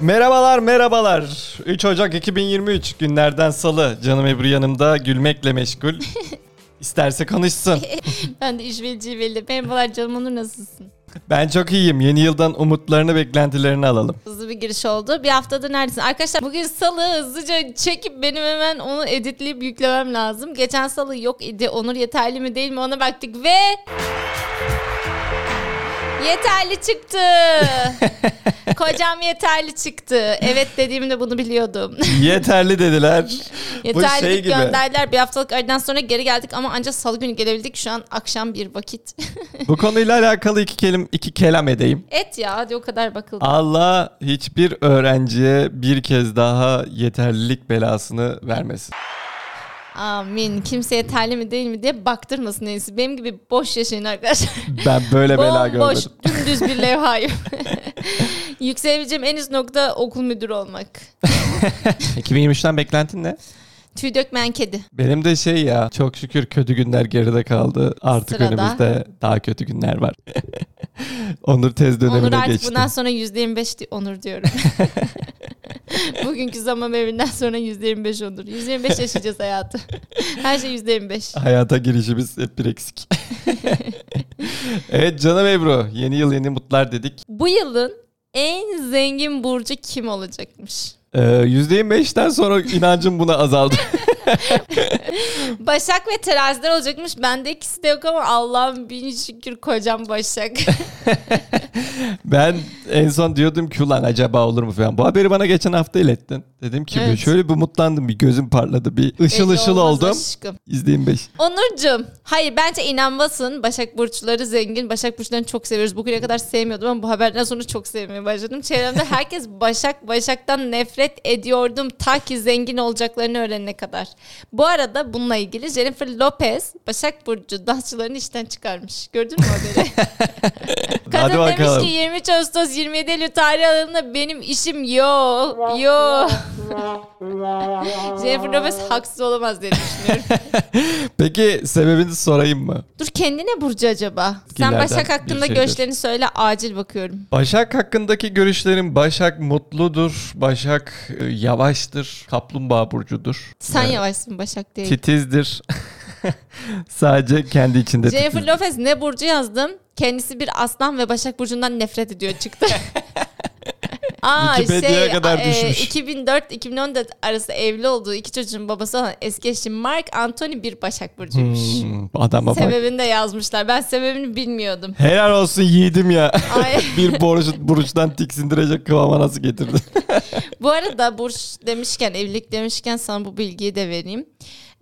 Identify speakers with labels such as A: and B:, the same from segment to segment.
A: Merhabalar merhabalar. 3 Ocak 2023 günlerden salı. Canım Ebru yanımda gülmekle meşgul. İsterse konuşsun.
B: Ben de İşveli belli. Merhabalar canım Onur nasılsın?
A: Ben çok iyiyim. Yeni yıldan umutlarını beklentilerini alalım.
B: Hızlı bir giriş oldu. Bir haftadır neredesin? Arkadaşlar bugün salı hızlıca çekip benim hemen onu editleyip yüklemem lazım. Geçen salı yok idi. Onur yeterli mi değil mi ona baktık ve... Yeterli çıktı. Kocam yeterli çıktı. Evet dediğimde bunu biliyordum.
A: Yeterli dediler.
B: Yeterlilik
A: şey gibi.
B: gönderdiler. Bir haftalık aradan sonra geri geldik ama ancak salı günü gelebildik. Şu an akşam bir vakit.
A: Bu konuyla alakalı iki kelim iki kelam edeyim.
B: Et ya hadi o kadar bakıldı.
A: Allah hiçbir öğrenciye bir kez daha yeterlilik belasını vermesin.
B: Amin. Kimse yeterli mi değil mi diye baktırmasın en iyisi. Benim gibi boş yaşayın arkadaşlar.
A: Ben böyle bela
B: Bomboş,
A: görmedim.
B: dümdüz bir levhayım. Yükselebileceğim en üst nokta okul müdürü olmak.
A: 2023'ten beklentin ne?
B: Tüy dökmeyen kedi.
A: Benim de şey ya çok şükür kötü günler geride kaldı. Artık
B: Sırada.
A: önümüzde daha kötü günler var. Onur tez
B: Onur
A: dönemine
B: artık
A: geçti.
B: bundan sonra %25 di- Onur diyorum. Bugünkü zaman evinden sonra %25 Onur. %25 yaşayacağız hayatı. Her şey %25.
A: Hayata girişimiz hep bir eksik. evet canım Ebru yeni yıl yeni mutlar dedik.
B: Bu yılın en zengin burcu kim olacakmış?
A: Ee, %25'ten sonra inancım buna azaldı.
B: Başak ve teraziler olacakmış. Bende ikisi de yok ama Allah'ım bin şükür kocam Başak.
A: ben en son diyordum ki ulan acaba olur mu falan. Bu haberi bana geçen hafta ilettin. Dedim ki
B: Evet.
A: şöyle bir mutlandım bir gözüm parladı bir ışıl
B: Belli
A: ışıl
B: olmaz
A: oldum.
B: aşkım.
A: %25.
B: Onurcuğum. Hayır bence inanmasın. Başak Burçları zengin. Başak Burçlarını çok seviyoruz. Bugüne kadar sevmiyordum ama bu haberden sonra çok sevmeye başladım. Çevremde herkes Başak Başak'tan nefret ediyordum. Ta ki zengin olacaklarını öğrenene kadar. Bu arada bununla ilgili Jennifer Lopez Başak Burcu dansçılarını işten çıkarmış. Gördün mü haberi?
A: Hadi
B: Kadın
A: bakalım.
B: demiş ki 23 Ağustos 27 Eylül tarih aralığında benim işim yok. Yok. Jennifer Lopez haksız olamaz diye düşünüyorum.
A: Peki sebebini sorayım mı?
B: Dur kendine Burcu acaba. Sen
A: Gilerden
B: Başak hakkında
A: bir şey şeydir.
B: görüşlerini söyle acil bakıyorum.
A: Başak hakkındaki görüşlerim Başak mutludur, Başak e, yavaştır, kaplumbağa burcudur,
B: Sen
A: Evet.
B: yavaşsın Başak değil.
A: titizdir. Sadece kendi içinde
B: Jennifer
A: titiz.
B: Lopez ne Burcu yazdım? Kendisi bir aslan ve Başak Burcu'ndan nefret ediyor çıktı. Aa, şey, e,
A: Wikipedia'ya kadar düşmüş.
B: 2004-2014 arası evli olduğu iki çocuğun babası olan eski eşi Mark Anthony bir Başak Burcu'ymuş.
A: Hmm, adama bak.
B: Sebebini de yazmışlar. Ben sebebini bilmiyordum.
A: Helal olsun yiğidim ya.
B: Ay,
A: bir borç, burçtan tiksindirecek kıvama nasıl getirdi?
B: bu arada burç demişken, evlilik demişken sana bu bilgiyi de vereyim.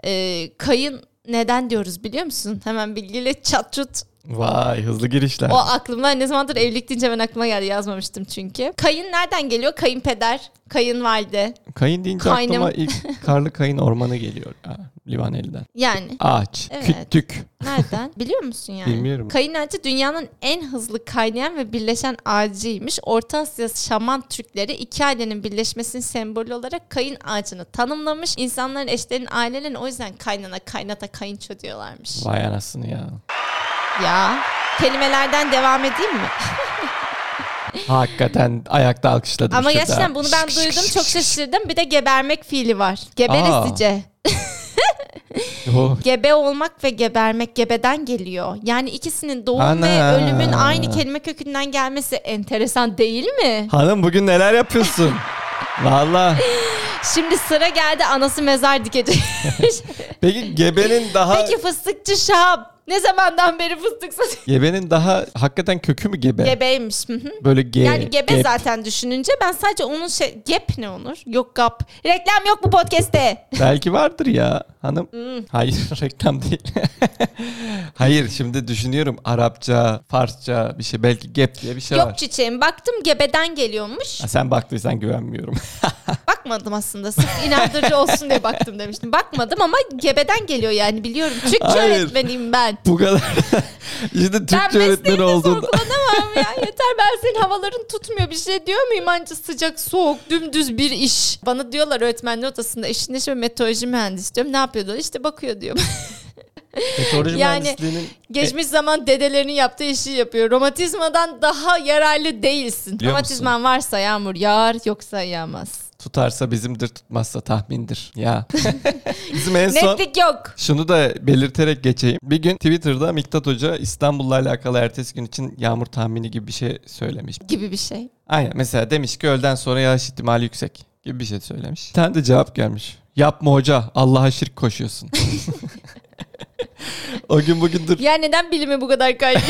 B: Ee, kayın neden diyoruz biliyor musun? Hemen bilgiyle çat çut.
A: Vay hızlı girişler.
B: O aklımda ne zamandır evlilik deyince ben aklıma geldi yazmamıştım çünkü. Kayın nereden geliyor? Kayınpeder, kayınvalide.
A: Kayın deyince
B: Kaynım.
A: aklıma ilk karlı kayın ormanı geliyor. Aa, Livaneli'den.
B: Yani
A: Ağaç,
B: Evet.
A: küttük.
B: nereden? Biliyor musun yani?
A: Bilmiyorum.
B: Kayın ağacı dünyanın en hızlı kaynayan ve birleşen ağacıymış. Orta Asya şaman Türkleri iki ailenin birleşmesinin sembolü olarak kayın ağacını tanımlamış. İnsanların eşlerin ailelerin o yüzden kaynana kaynata kayınço diyorlarmış.
A: Vay anasını ya.
B: Ya kelimelerden devam edeyim mi?
A: Hakikaten ayakta alkışladım.
B: Ama
A: şurada.
B: gerçekten bunu ben duydum çok şaşırdım. Bir de gebermek fiili var. Geberesice.
A: Oh,
B: Gebe olmak ve gebermek gebeden geliyor. Yani ikisinin doğum ve
A: Ana.
B: ölümün aynı kelime kökünden gelmesi enteresan değil mi?
A: Hanım bugün neler yapıyorsun? Valla.
B: Şimdi sıra geldi anası mezar dikecek.
A: Peki gebenin daha
B: Peki fıstıkçı Şahap ne zamandan beri fıstık satıyor?
A: gebenin daha hakikaten kökü mü gebe?
B: Gebeymiş. Hı hı.
A: Böyle ge.
B: Yani gebe
A: gep.
B: zaten düşününce ben sadece onun şey gep ne olur? Yok gap. Reklam yok bu podcast'te.
A: Belki vardır ya hanım.
B: Hmm.
A: Hayır reklam değil. Hayır şimdi düşünüyorum Arapça, Farsça bir şey belki gep diye bir şey
B: Yok
A: var.
B: çiçeğim baktım gebeden geliyormuş.
A: Ha, sen baktıysan güvenmiyorum. Ah.
B: Bakmadım aslında sırf inandırıcı olsun diye baktım demiştim. Bakmadım ama gebeden geliyor yani biliyorum. Türkçe
A: Hayır.
B: öğretmeniyim ben.
A: Bu kadar. işte
B: Ben
A: Türkçe öğretmeni
B: mesleğimi
A: oldun.
B: sorgulanamam ya. Yeter ben senin havaların tutmuyor bir şey diyor muyum anca sıcak soğuk dümdüz bir iş. Bana diyorlar öğretmenler odasında eşin eşi ve meteoroloji mühendisi diyorum. Ne yapıyor diyor. İşte bakıyor diyor.
A: Meteoroloji
B: Yani
A: mühendisliğinin
B: Geçmiş zaman dedelerinin yaptığı işi yapıyor. Romatizmadan daha yararlı değilsin.
A: Biliyor
B: Romatizman varsa yağmur yağar yoksa yağmaz.
A: tutarsa bizimdir tutmazsa tahmindir. Ya. Bizim en son
B: Netlik yok.
A: Şunu da belirterek geçeyim. Bir gün Twitter'da Miktat Hoca İstanbul'la alakalı ertesi gün için yağmur tahmini gibi bir şey söylemiş.
B: Gibi bir şey.
A: Aynen mesela demiş ki öğleden sonra yağış ihtimali yüksek gibi bir şey söylemiş. Bir tane de cevap gelmiş. Yapma hoca Allah'a şirk koşuyorsun. o gün bugündür
B: Ya neden bilimi bu kadar kaydı?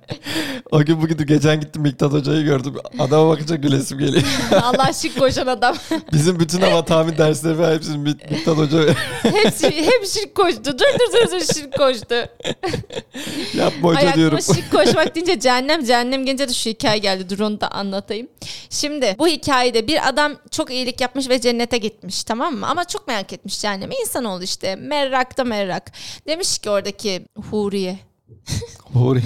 A: o gün bugündür geçen gittim Miktat Hoca'yı gördüm. Adama bakınca gülesim geliyor.
B: Allah şık koşan adam.
A: Bizim bütün hava tahmin dersleri ve hepsini Mik- Miktat Hoca
B: Hepsi hep şirk koştu. Dur dur dur dur şirk koştu.
A: yapma hoca
B: Ay
A: diyorum.
B: aklıma şirk koşmak deyince cehennem cehennem gelince de şu hikaye geldi. Dur onu da anlatayım. Şimdi bu hikayede bir adam çok iyilik yapmış ve cennete gitmiş tamam mı? Ama çok merak etmiş cehennemi. İnsanoğlu işte merrak da merrak. Demiş ki oradaki Huriye.
A: Huri.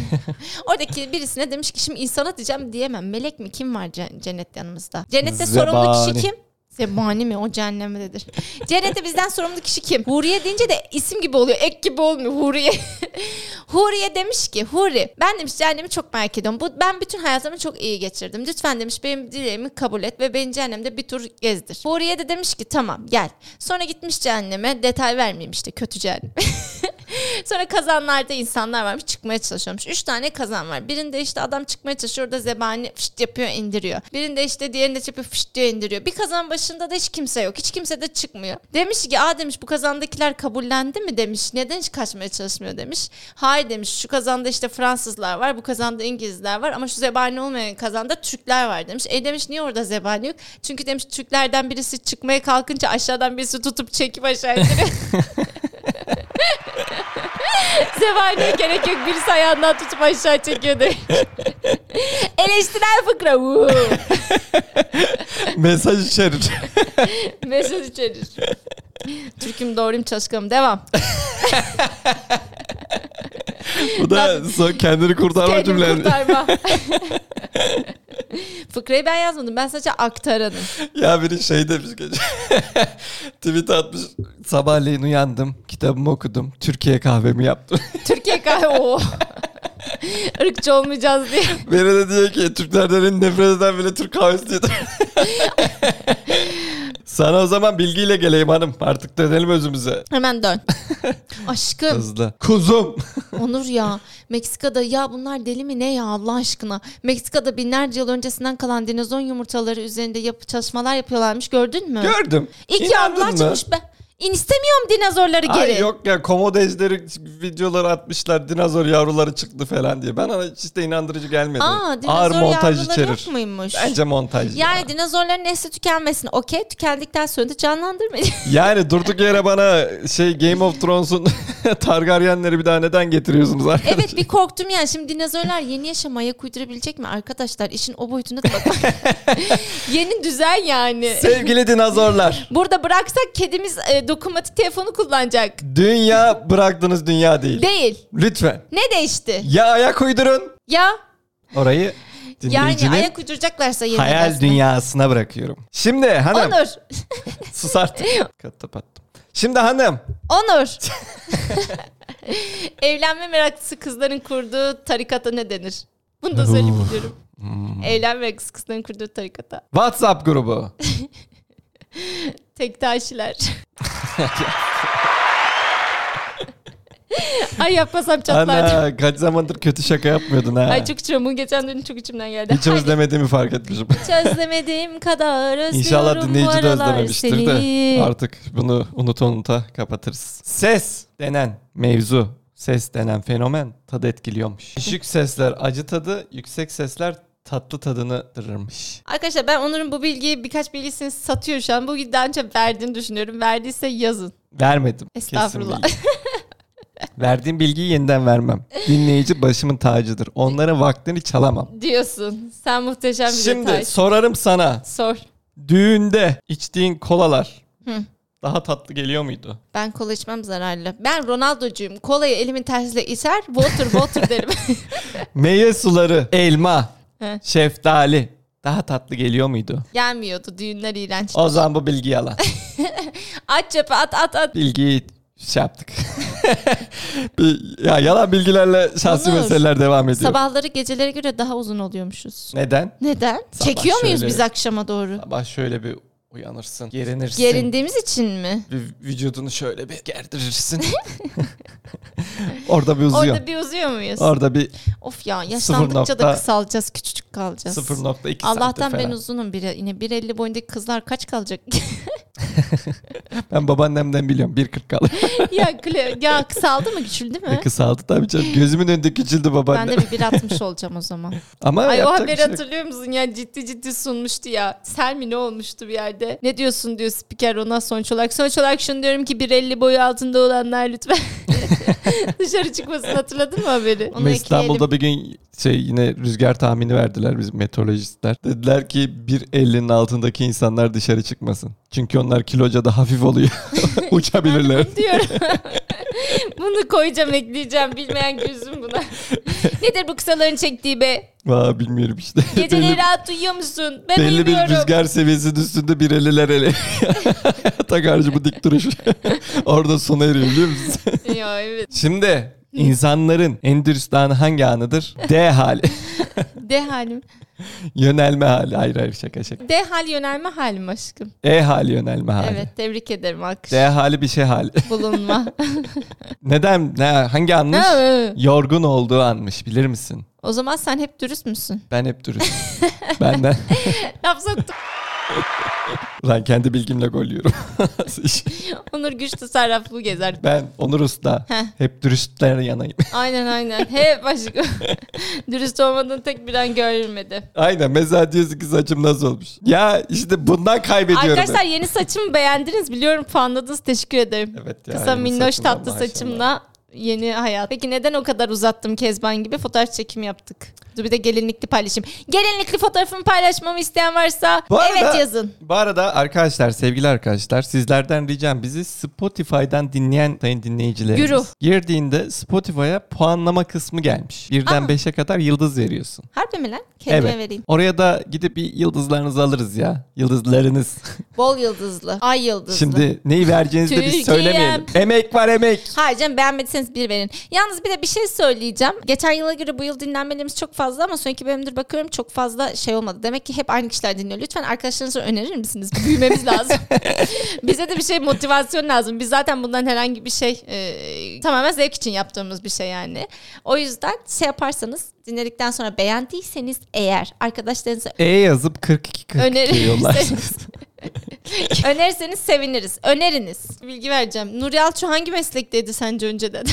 B: Oradaki birisine demiş ki şimdi insana diyeceğim diyemem. Melek mi kim var ce- cennet yanımızda? Cennette sorumlu
A: Zebani.
B: kişi kim? Zebani mi? O cehennemdedir. Cennette bizden sorumlu kişi kim? Huriye deyince de isim gibi oluyor. Ek gibi olmuyor Huriye. Huriye demiş ki Huri ben demiş cehennemi çok merak ediyorum. Bu, ben bütün hayatımı çok iyi geçirdim. Lütfen demiş benim dileğimi kabul et ve beni cehennemde bir tur gezdir. Huriye de demiş ki tamam gel. Sonra gitmiş cehenneme detay vermeyeyim işte kötü cehennem. Sonra kazanlarda insanlar varmış çıkmaya çalışıyormuş. Üç tane kazan var. Birinde işte adam çıkmaya çalışıyor orada zebani fışt yapıyor indiriyor. Birinde işte diğerinde çıkıyor fışt diyor indiriyor. Bir kazan başında da hiç kimse yok. Hiç kimse de çıkmıyor. Demiş ki aa demiş bu kazandakiler kabullendi mi demiş. Neden hiç kaçmaya çalışmıyor demiş. Hayır demiş şu kazanda işte Fransızlar var bu kazanda İngilizler var ama şu zebani olmayan kazanda Türkler var demiş. E demiş niye orada zebani yok? Çünkü demiş Türklerden birisi çıkmaya kalkınca aşağıdan birisi tutup çekip aşağı indiriyor. Zebaniye gerek yok. Birisi ayağından tutup aşağı çekiyordu. Eleştirel fıkra. Woo.
A: Mesaj içerir.
B: Mesaj içerir. Türküm doğruyum çalışkanım. Devam.
A: Bu da son kendini kurtarma
B: Kendimi
A: cümleleri.
B: kurtarma. Fıkrayı ben yazmadım. Ben sadece aktaranım.
A: Ya biri şey demiş gece. Tweet atmış. Sabahleyin uyandım. Kitabımı okudum. Türkiye kahvemi yaptım.
B: Türkiye kahve. Oo. Irkçı olmayacağız diye.
A: biri de diyor ki Türklerden en nefret eden bile Türk kahvesi diyor. Sana o zaman bilgiyle geleyim hanım. Artık dönelim özümüze.
B: Hemen dön. Aşkım.
A: Hızlı. Kuzum.
B: Onur ya Meksika'da ya bunlar deli mi ne ya Allah aşkına. Meksika'da binlerce yıl öncesinden kalan dinozor yumurtaları üzerinde yapı çalışmalar yapıyorlarmış gördün mü?
A: Gördüm.
B: İlk
A: İnandın
B: yavrular
A: mı?
B: çıkmış be. İn istemiyorum dinozorları geri.
A: Ay yok ya komodo ejderi videoları atmışlar dinozor yavruları çıktı falan diye. Ben ona hiç de inandırıcı gelmedi.
B: Aa dinozor
A: Ağır montaj
B: yavruları
A: içerir.
B: yok muymuş?
A: Bence montaj.
B: yani dinozorların nesli tükenmesin. Okey tükendikten sonra da canlandırmayın.
A: Yani durduk yere bana şey Game of Thrones'un Targaryenleri bir daha neden getiriyorsunuz arkadaşlar?
B: evet bir korktum yani. Şimdi dinozorlar yeni yaşama ayak uydurabilecek mi arkadaşlar? İşin o boyutuna da bakın. yeni düzen yani.
A: Sevgili dinozorlar.
B: Burada bıraksak kedimiz e, dokunmatik telefonu kullanacak.
A: Dünya bıraktığınız dünya değil.
B: Değil.
A: Lütfen.
B: Ne değişti?
A: Ya ayak uydurun.
B: Ya
A: Orayı
B: yani
A: dinleyicinin
B: ayak uyduracaklarsa yeni
A: hayal
B: biraz.
A: dünyasına bırakıyorum. Şimdi hanım.
B: Onur.
A: Sus artık. Kapattım. Şimdi hanım.
B: Onur. Evlenme meraklısı kızların kurduğu tarikata ne denir? Bunu da söyleyip gidiyorum.
A: Hmm.
B: Evlenme meraklısı kızların kurduğu tarikata.
A: WhatsApp grubu.
B: Tektaşiler. Ay yapmasam çatlardım.
A: Ana kaç zamandır kötü şaka yapmıyordun ha.
B: Ay çok içiyorum. Bu geçen dün çok içimden geldi.
A: Hiç özlemediğimi fark etmişim.
B: Hiç özlemediğim kadar özlüyorum
A: İnşallah
B: bu
A: dinleyici de
B: aralar
A: özlememiştir de
B: seni.
A: artık bunu unut unuta kapatırız. Ses denen mevzu, ses denen fenomen tadı etkiliyormuş. Düşük sesler acı tadı, yüksek sesler tatlı tadını tırırmış.
B: Arkadaşlar ben Onur'un bu bilgiyi birkaç bilgisini satıyor şu an. Bu bilgiyi daha önce verdiğini düşünüyorum. Verdiyse yazın.
A: Vermedim. kesin
B: Estağfurullah.
A: bilgi. Verdiğim bilgiyi yeniden vermem. Dinleyici başımın tacıdır. Onların vaktini çalamam.
B: Diyorsun. Sen muhteşem bir detay.
A: Şimdi sorarım sana.
B: Sor.
A: Düğünde içtiğin kolalar
B: Hı.
A: daha tatlı geliyor muydu?
B: Ben kola içmem zararlı. Ben Ronaldo'cuyum. Kolayı elimin tersiyle içer. Water water derim.
A: Meyve suları, elma,
B: He.
A: şeftali daha tatlı geliyor muydu?
B: Gelmiyordu. Düğünler iğrenç.
A: O zaman bu bilgi yalan.
B: At çöpe at at at.
A: Bilgiyi şey yaptık. Bir- ya yalan bilgilerle şahsi
B: Onur,
A: meseleler devam ediyor.
B: Sabahları gecelere göre daha uzun oluyormuşuz.
A: Neden?
B: Neden?
A: Sabah
B: Çekiyor muyuz
A: şöyle-
B: biz akşama doğru?
A: Sabah şöyle bir uyanırsın, gerinirsin.
B: Gerindiğimiz için mi?
A: Bir vücudunu şöyle bir gerdirirsin. Orada bir uzuyor.
B: Orada bir uzuyor muyuz?
A: Orada bir
B: Of ya yaşlandıkça da
A: nokta-
B: kısalacağız, küçücük kalacağız.
A: 0.2
B: Allah'tan
A: santim
B: ben
A: falan.
B: uzunum biri. Yine 1.50 boyundaki kızlar kaç kalacak?
A: Ben babaannemden biliyorum 1.40 kaldı.
B: ya, kle- ya kısaldı mı küçüldü mü?
A: Kısaldı tabii canım. Gözümün önünde küçüldü
B: Ben de
A: babaannem.
B: bir 1.60 olacağım o zaman.
A: Ama
B: Ay o
A: yapacak bir
B: haberi
A: şey yok.
B: hatırlıyor musun? Ya ciddi ciddi sunmuştu ya. Sel mi ne olmuştu bir yerde? Ne diyorsun diyor spiker ona sonuç olarak. Sonuç olarak şunu diyorum ki 1.50 boyu altında olanlar lütfen dışarı çıkmasın hatırladın mı haberi? Onu
A: Ama
B: ekleyelim.
A: İstanbul'da bir gün şey yine rüzgar tahmini verdiler biz meteorolojistler. Dediler ki 1.50'nin altındaki insanlar dışarı çıkmasın. Çünkü onlar kiloca da hafif oluyor. Uçabilirler.
B: diyorum. Bunu koyacağım ekleyeceğim bilmeyen gözüm buna. Nedir bu kısaların çektiği be?
A: Valla bilmiyorum işte.
B: Geceleri rahat uyuyor musun? Ben
A: belli bir
B: uyumuyorum.
A: rüzgar seviyesinin üstünde 1.50'ler ele. Takarcı bu dik duruş. Orada sona eriyor biliyor musun?
B: Ya evet.
A: Şimdi insanların endüstri anı hangi anıdır? D hali.
B: D halim.
A: yönelme hali. Hayır hayır şaka şaka.
B: D hal yönelme halim aşkım.
A: E hali yönelme hali.
B: Evet tebrik ederim alkış.
A: D hali bir şey hali.
B: Bulunma.
A: Neden? Ne, hangi anmış?
B: Ne?
A: Yorgun olduğu anmış bilir misin?
B: o zaman sen hep dürüst müsün?
A: Ben hep dürüst. Benden.
B: Laf soktuk.
A: Lan kendi bilgimle gol yiyorum.
B: Onur güç tasarruflu gezer.
A: ben Onur Usta.
B: Heh.
A: hep dürüstlere yanayım.
B: Aynen aynen. Hep aşkım. dürüst olmadığın tek bir an görülmedi.
A: Aynen mesela diyorsun ki saçım nasıl olmuş. Ya işte bundan kaybediyorum. ben.
B: Arkadaşlar yeni saçımı beğendiniz biliyorum fanladınız teşekkür ederim.
A: Evet ya,
B: Kısa
A: yeni
B: minnoş
A: saçımla
B: tatlı
A: maşallah.
B: saçımla yeni hayat. Peki neden o kadar uzattım Kezban gibi fotoğraf çekimi yaptık. Dur bir de gelinlikli paylaşayım. Gelinlikli fotoğrafımı paylaşmamı isteyen varsa
A: Bu arada-
B: evet yazın.
A: Bu arada arkadaşlar sevgili arkadaşlar sizlerden ricam bizi Spotify'dan dinleyen sayın dinleyicilerimiz.
B: Güruh.
A: Girdiğinde Spotify'a puanlama kısmı gelmiş. Birden
B: Aa.
A: 5'e kadar yıldız veriyorsun.
B: Harbi mi lan? Kendime
A: evet.
B: vereyim.
A: Oraya da gidip bir yıldızlarınızı alırız ya. Yıldızlarınız.
B: Bol yıldızlı. Ay yıldızlı.
A: Şimdi neyi vereceğinizi de biz
B: Türkiye'm.
A: söylemeyelim. Emek var emek.
B: Hayır canım beğenmediyseniz bir verin. Yalnız bir de bir şey söyleyeceğim. Geçen yıla göre bu yıl dinlenmelerimiz çok fazla ama sonraki bölümdür bakıyorum çok fazla şey olmadı. Demek ki hep aynı kişiler dinliyor. Lütfen arkadaşlarınıza önerir misiniz? Büyümemiz lazım. Bize de bir şey motivasyon lazım. Biz zaten bundan herhangi bir şey e, tamamen zevk için yaptığımız bir şey yani. O yüzden şey yaparsanız dinledikten sonra beğendiyseniz eğer arkadaşlarınıza
A: E yazıp 42 42 yollarsınız.
B: önerirseniz önerirseniz seviniriz. Öneriniz. Bilgi vereceğim. Nur Yalçı hangi meslekteydi sence önceden?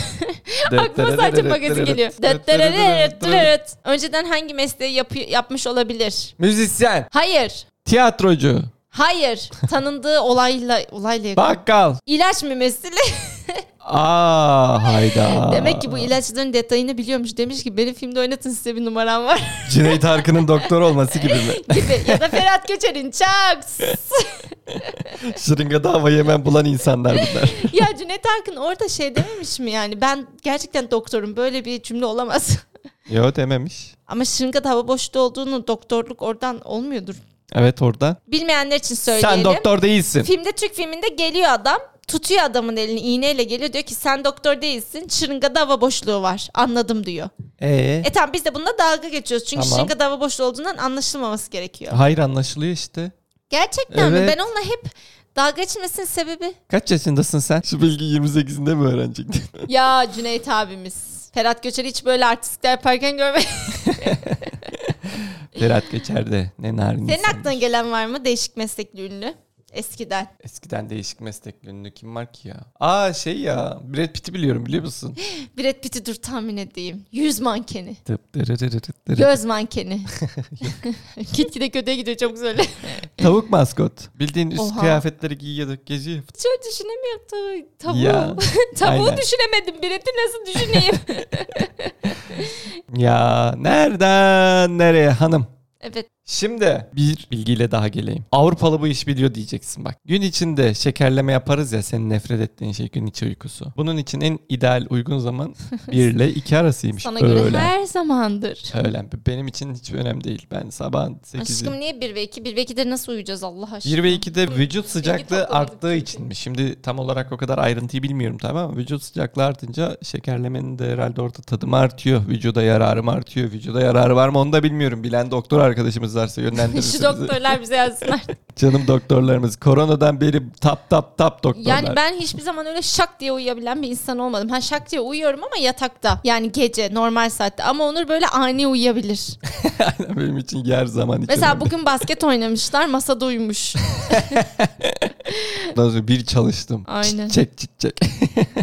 B: Aklıma sadece magazin geliyor. Döttereret, döttereret. Önceden hangi mesleği yapı- yapmış olabilir?
A: Müzisyen,
B: Hayır.
A: tiyatrocu,
B: Hayır. Tanındığı olayla olayla yakın.
A: bakkal.
B: İlaç mümessili.
A: Aa hayda.
B: Demek ki bu ilaçların detayını biliyormuş. Demiş ki benim filmde oynatın size bir numaram var
A: Cüneyt Arkın'ın doktor olması gibi mi?
B: gibi. Ya da Ferhat Göçer'in çaks.
A: Şırıngada hava yemen bulan insanlar bunlar.
B: ya Cüneyt Arkın orada şey dememiş mi yani ben gerçekten doktorum böyle bir cümle olamaz.
A: Yo dememiş.
B: Ama şırıngada hava boşta olduğunu doktorluk oradan olmuyordur.
A: Evet orada.
B: Bilmeyenler için söyleyelim.
A: Sen doktor değilsin.
B: Filmde Türk filminde geliyor adam tutuyor adamın elini iğneyle geliyor diyor ki sen doktor değilsin şırıngada hava boşluğu var anladım diyor.
A: Ee?
B: E tamam biz de bununla dalga geçiyoruz çünkü
A: Tamam.
B: şırıngada hava boşluğu olduğundan anlaşılmaması gerekiyor.
A: Hayır anlaşılıyor işte.
B: Gerçekten mi?
A: Evet.
B: Ben onunla hep dalga geçmesinin sebebi
A: Kaç yaşındasın sen? Şu bilgi 28'inde mi öğrenecektin?
B: ya Cüneyt abimiz. Ferhat Göçer'i hiç böyle artistler yaparken görmedim.
A: Berat Geçer'de ne narin
B: Senin
A: insan.
B: aklına gelen var mı değişik meslekli ünlü? Eskiden.
A: Eskiden değişik meslek ünlü kim var ki ya? Aa şey ya Brad Pitt'i biliyorum biliyor musun?
B: Brad Pitt'i dur tahmin edeyim. Yüz mankeni.
A: Tıp dırırırırırırır.
B: Göz mankeni. Gitgide kötüye gidiyor çok söyle.
A: Tavuk maskot. Bildiğin üst
B: Oha.
A: kıyafetleri giyiyorduk geziyor.
B: Şöyle düşünemiyorum tavuğu. Tavuğu,
A: Ya,
B: tavuğu
A: aynen.
B: düşünemedim. Brad'i nasıl düşüneyim?
A: Ya nereden nereye hanım?
B: evet.
A: Şimdi bir bilgiyle daha geleyim. Avrupalı bu iş biliyor diyeceksin bak. Gün içinde şekerleme yaparız ya senin nefret ettiğin şey gün içi uykusu. Bunun için en ideal uygun zaman 1 ile 2 arasıymış.
B: Sana göre
A: Öğlen.
B: her zamandır.
A: Öğlen. Benim için hiç önemli değil. Ben sabah 8
B: Aşkım niye 1 ve 2? 1 ve 2'de nasıl uyuyacağız Allah aşkına?
A: 1 ve 2'de vücut sıcaklığı
B: topladık
A: arttığı
B: çünkü.
A: içinmiş. Şimdi tam olarak o kadar ayrıntıyı bilmiyorum tamam ama vücut sıcaklığı artınca şekerlemenin de herhalde orada tadımı artıyor. Vücuda yararı mı artıyor? Vücuda yararı var mı onu da bilmiyorum. Bilen doktor arkadaşımız varsa yönlendirirse bizi.
B: Şu doktorlar bize yazsınlar.
A: Canım doktorlarımız. Koronadan beri tap tap tap doktorlar.
B: Yani ben hiçbir zaman öyle şak diye uyuyabilen bir insan olmadım. Ha şak diye uyuyorum ama yatakta. Yani gece normal saatte. Ama Onur böyle ani uyuyabilir.
A: Benim için her zaman hiç
B: Mesela
A: önemli.
B: bugün basket oynamışlar masada uyumuş.
A: Ondan sonra bir çalıştım.
B: Aynen.
A: Çek çek çek.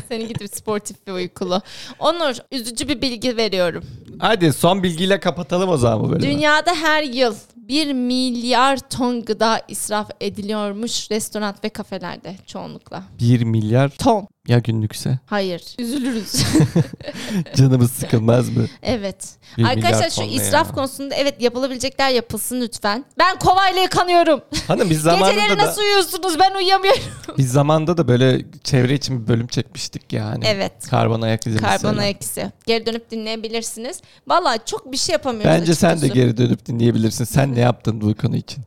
B: Senin gibi sportif ve uykulu. Onur üzücü bir bilgi veriyorum.
A: Hadi son bilgiyle kapatalım o zaman bu bölümü.
B: Dünyada her yıl 1 milyar ton gıda israf ediliyormuş restoran ve kafelerde çoğunlukla.
A: 1 milyar
B: Ton.
A: ya günlükse
B: Hayır. Üzülürüz.
A: canımız sıkılmaz mı?
B: evet.
A: Bir milyar
B: Arkadaşlar şu
A: ton ne
B: israf
A: ya?
B: konusunda evet yapılabilecekler yapılsın lütfen. Ben kovayla yıkanıyorum.
A: Hanım biz zamanında
B: Geceleri
A: da
B: nasıl uyuyorsunuz? Ben uyuyamıyorum.
A: biz zamanda da böyle çevre için bir bölüm çekmiştik yani.
B: Evet.
A: Karbon ayak izi
B: Karbon
A: mesela.
B: ayak izi. Geri dönüp dinleyebilirsiniz. Valla çok bir şey yapamıyoruz
A: Bence sen de
B: açıkçası.
A: geri dönüp dinleyebilirsin. Sen ne yaptın bu konu için?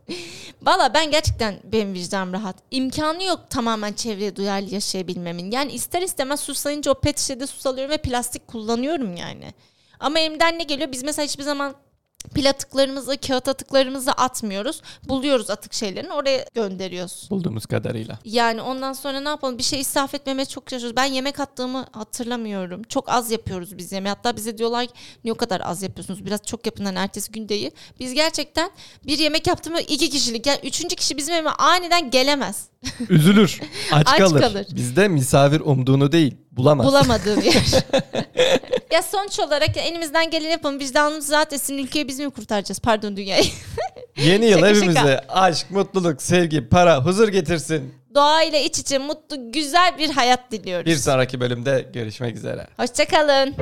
B: Valla ben gerçekten benim vicdanım rahat. İmkanı yok tamamen çevreye duyarlı yaşayabilmemin. Yani ister istemez susayınca o pet şişede sus alıyorum ve plastik kullanıyorum yani. Ama elimden ne geliyor? Biz mesela hiçbir zaman pil atıklarımızı, kağıt atıklarımızı atmıyoruz. Buluyoruz atık şeylerini oraya gönderiyoruz.
A: Bulduğumuz kadarıyla.
B: Yani ondan sonra ne yapalım? Bir şey israf etmemeye çok çalışıyoruz. Ben yemek attığımı hatırlamıyorum. Çok az yapıyoruz biz yemeği. Hatta bize diyorlar ki ne o kadar az yapıyorsunuz? Biraz çok yapın hani ertesi gün değil. Biz gerçekten bir yemek yaptığımı iki kişilik. Yani üçüncü kişi bizim evime aniden gelemez.
A: Üzülür. Aç,
B: Aç
A: kalır.
B: kalır.
A: Bizde misafir umduğunu değil bulamaz.
B: Bulamadığı bir yer. ya sonuç olarak ya elimizden geleni yapalım. Vicdanımız rahat etsin. Ülkeyi biz mi kurtaracağız? Pardon dünyayı.
A: Yeni yıl
B: Şaka
A: evimize
B: şaka.
A: aşk, mutluluk, sevgi, para, huzur getirsin.
B: Doğayla iç içe mutlu, güzel bir hayat diliyoruz.
A: Bir sonraki bölümde görüşmek üzere.
B: Hoşçakalın.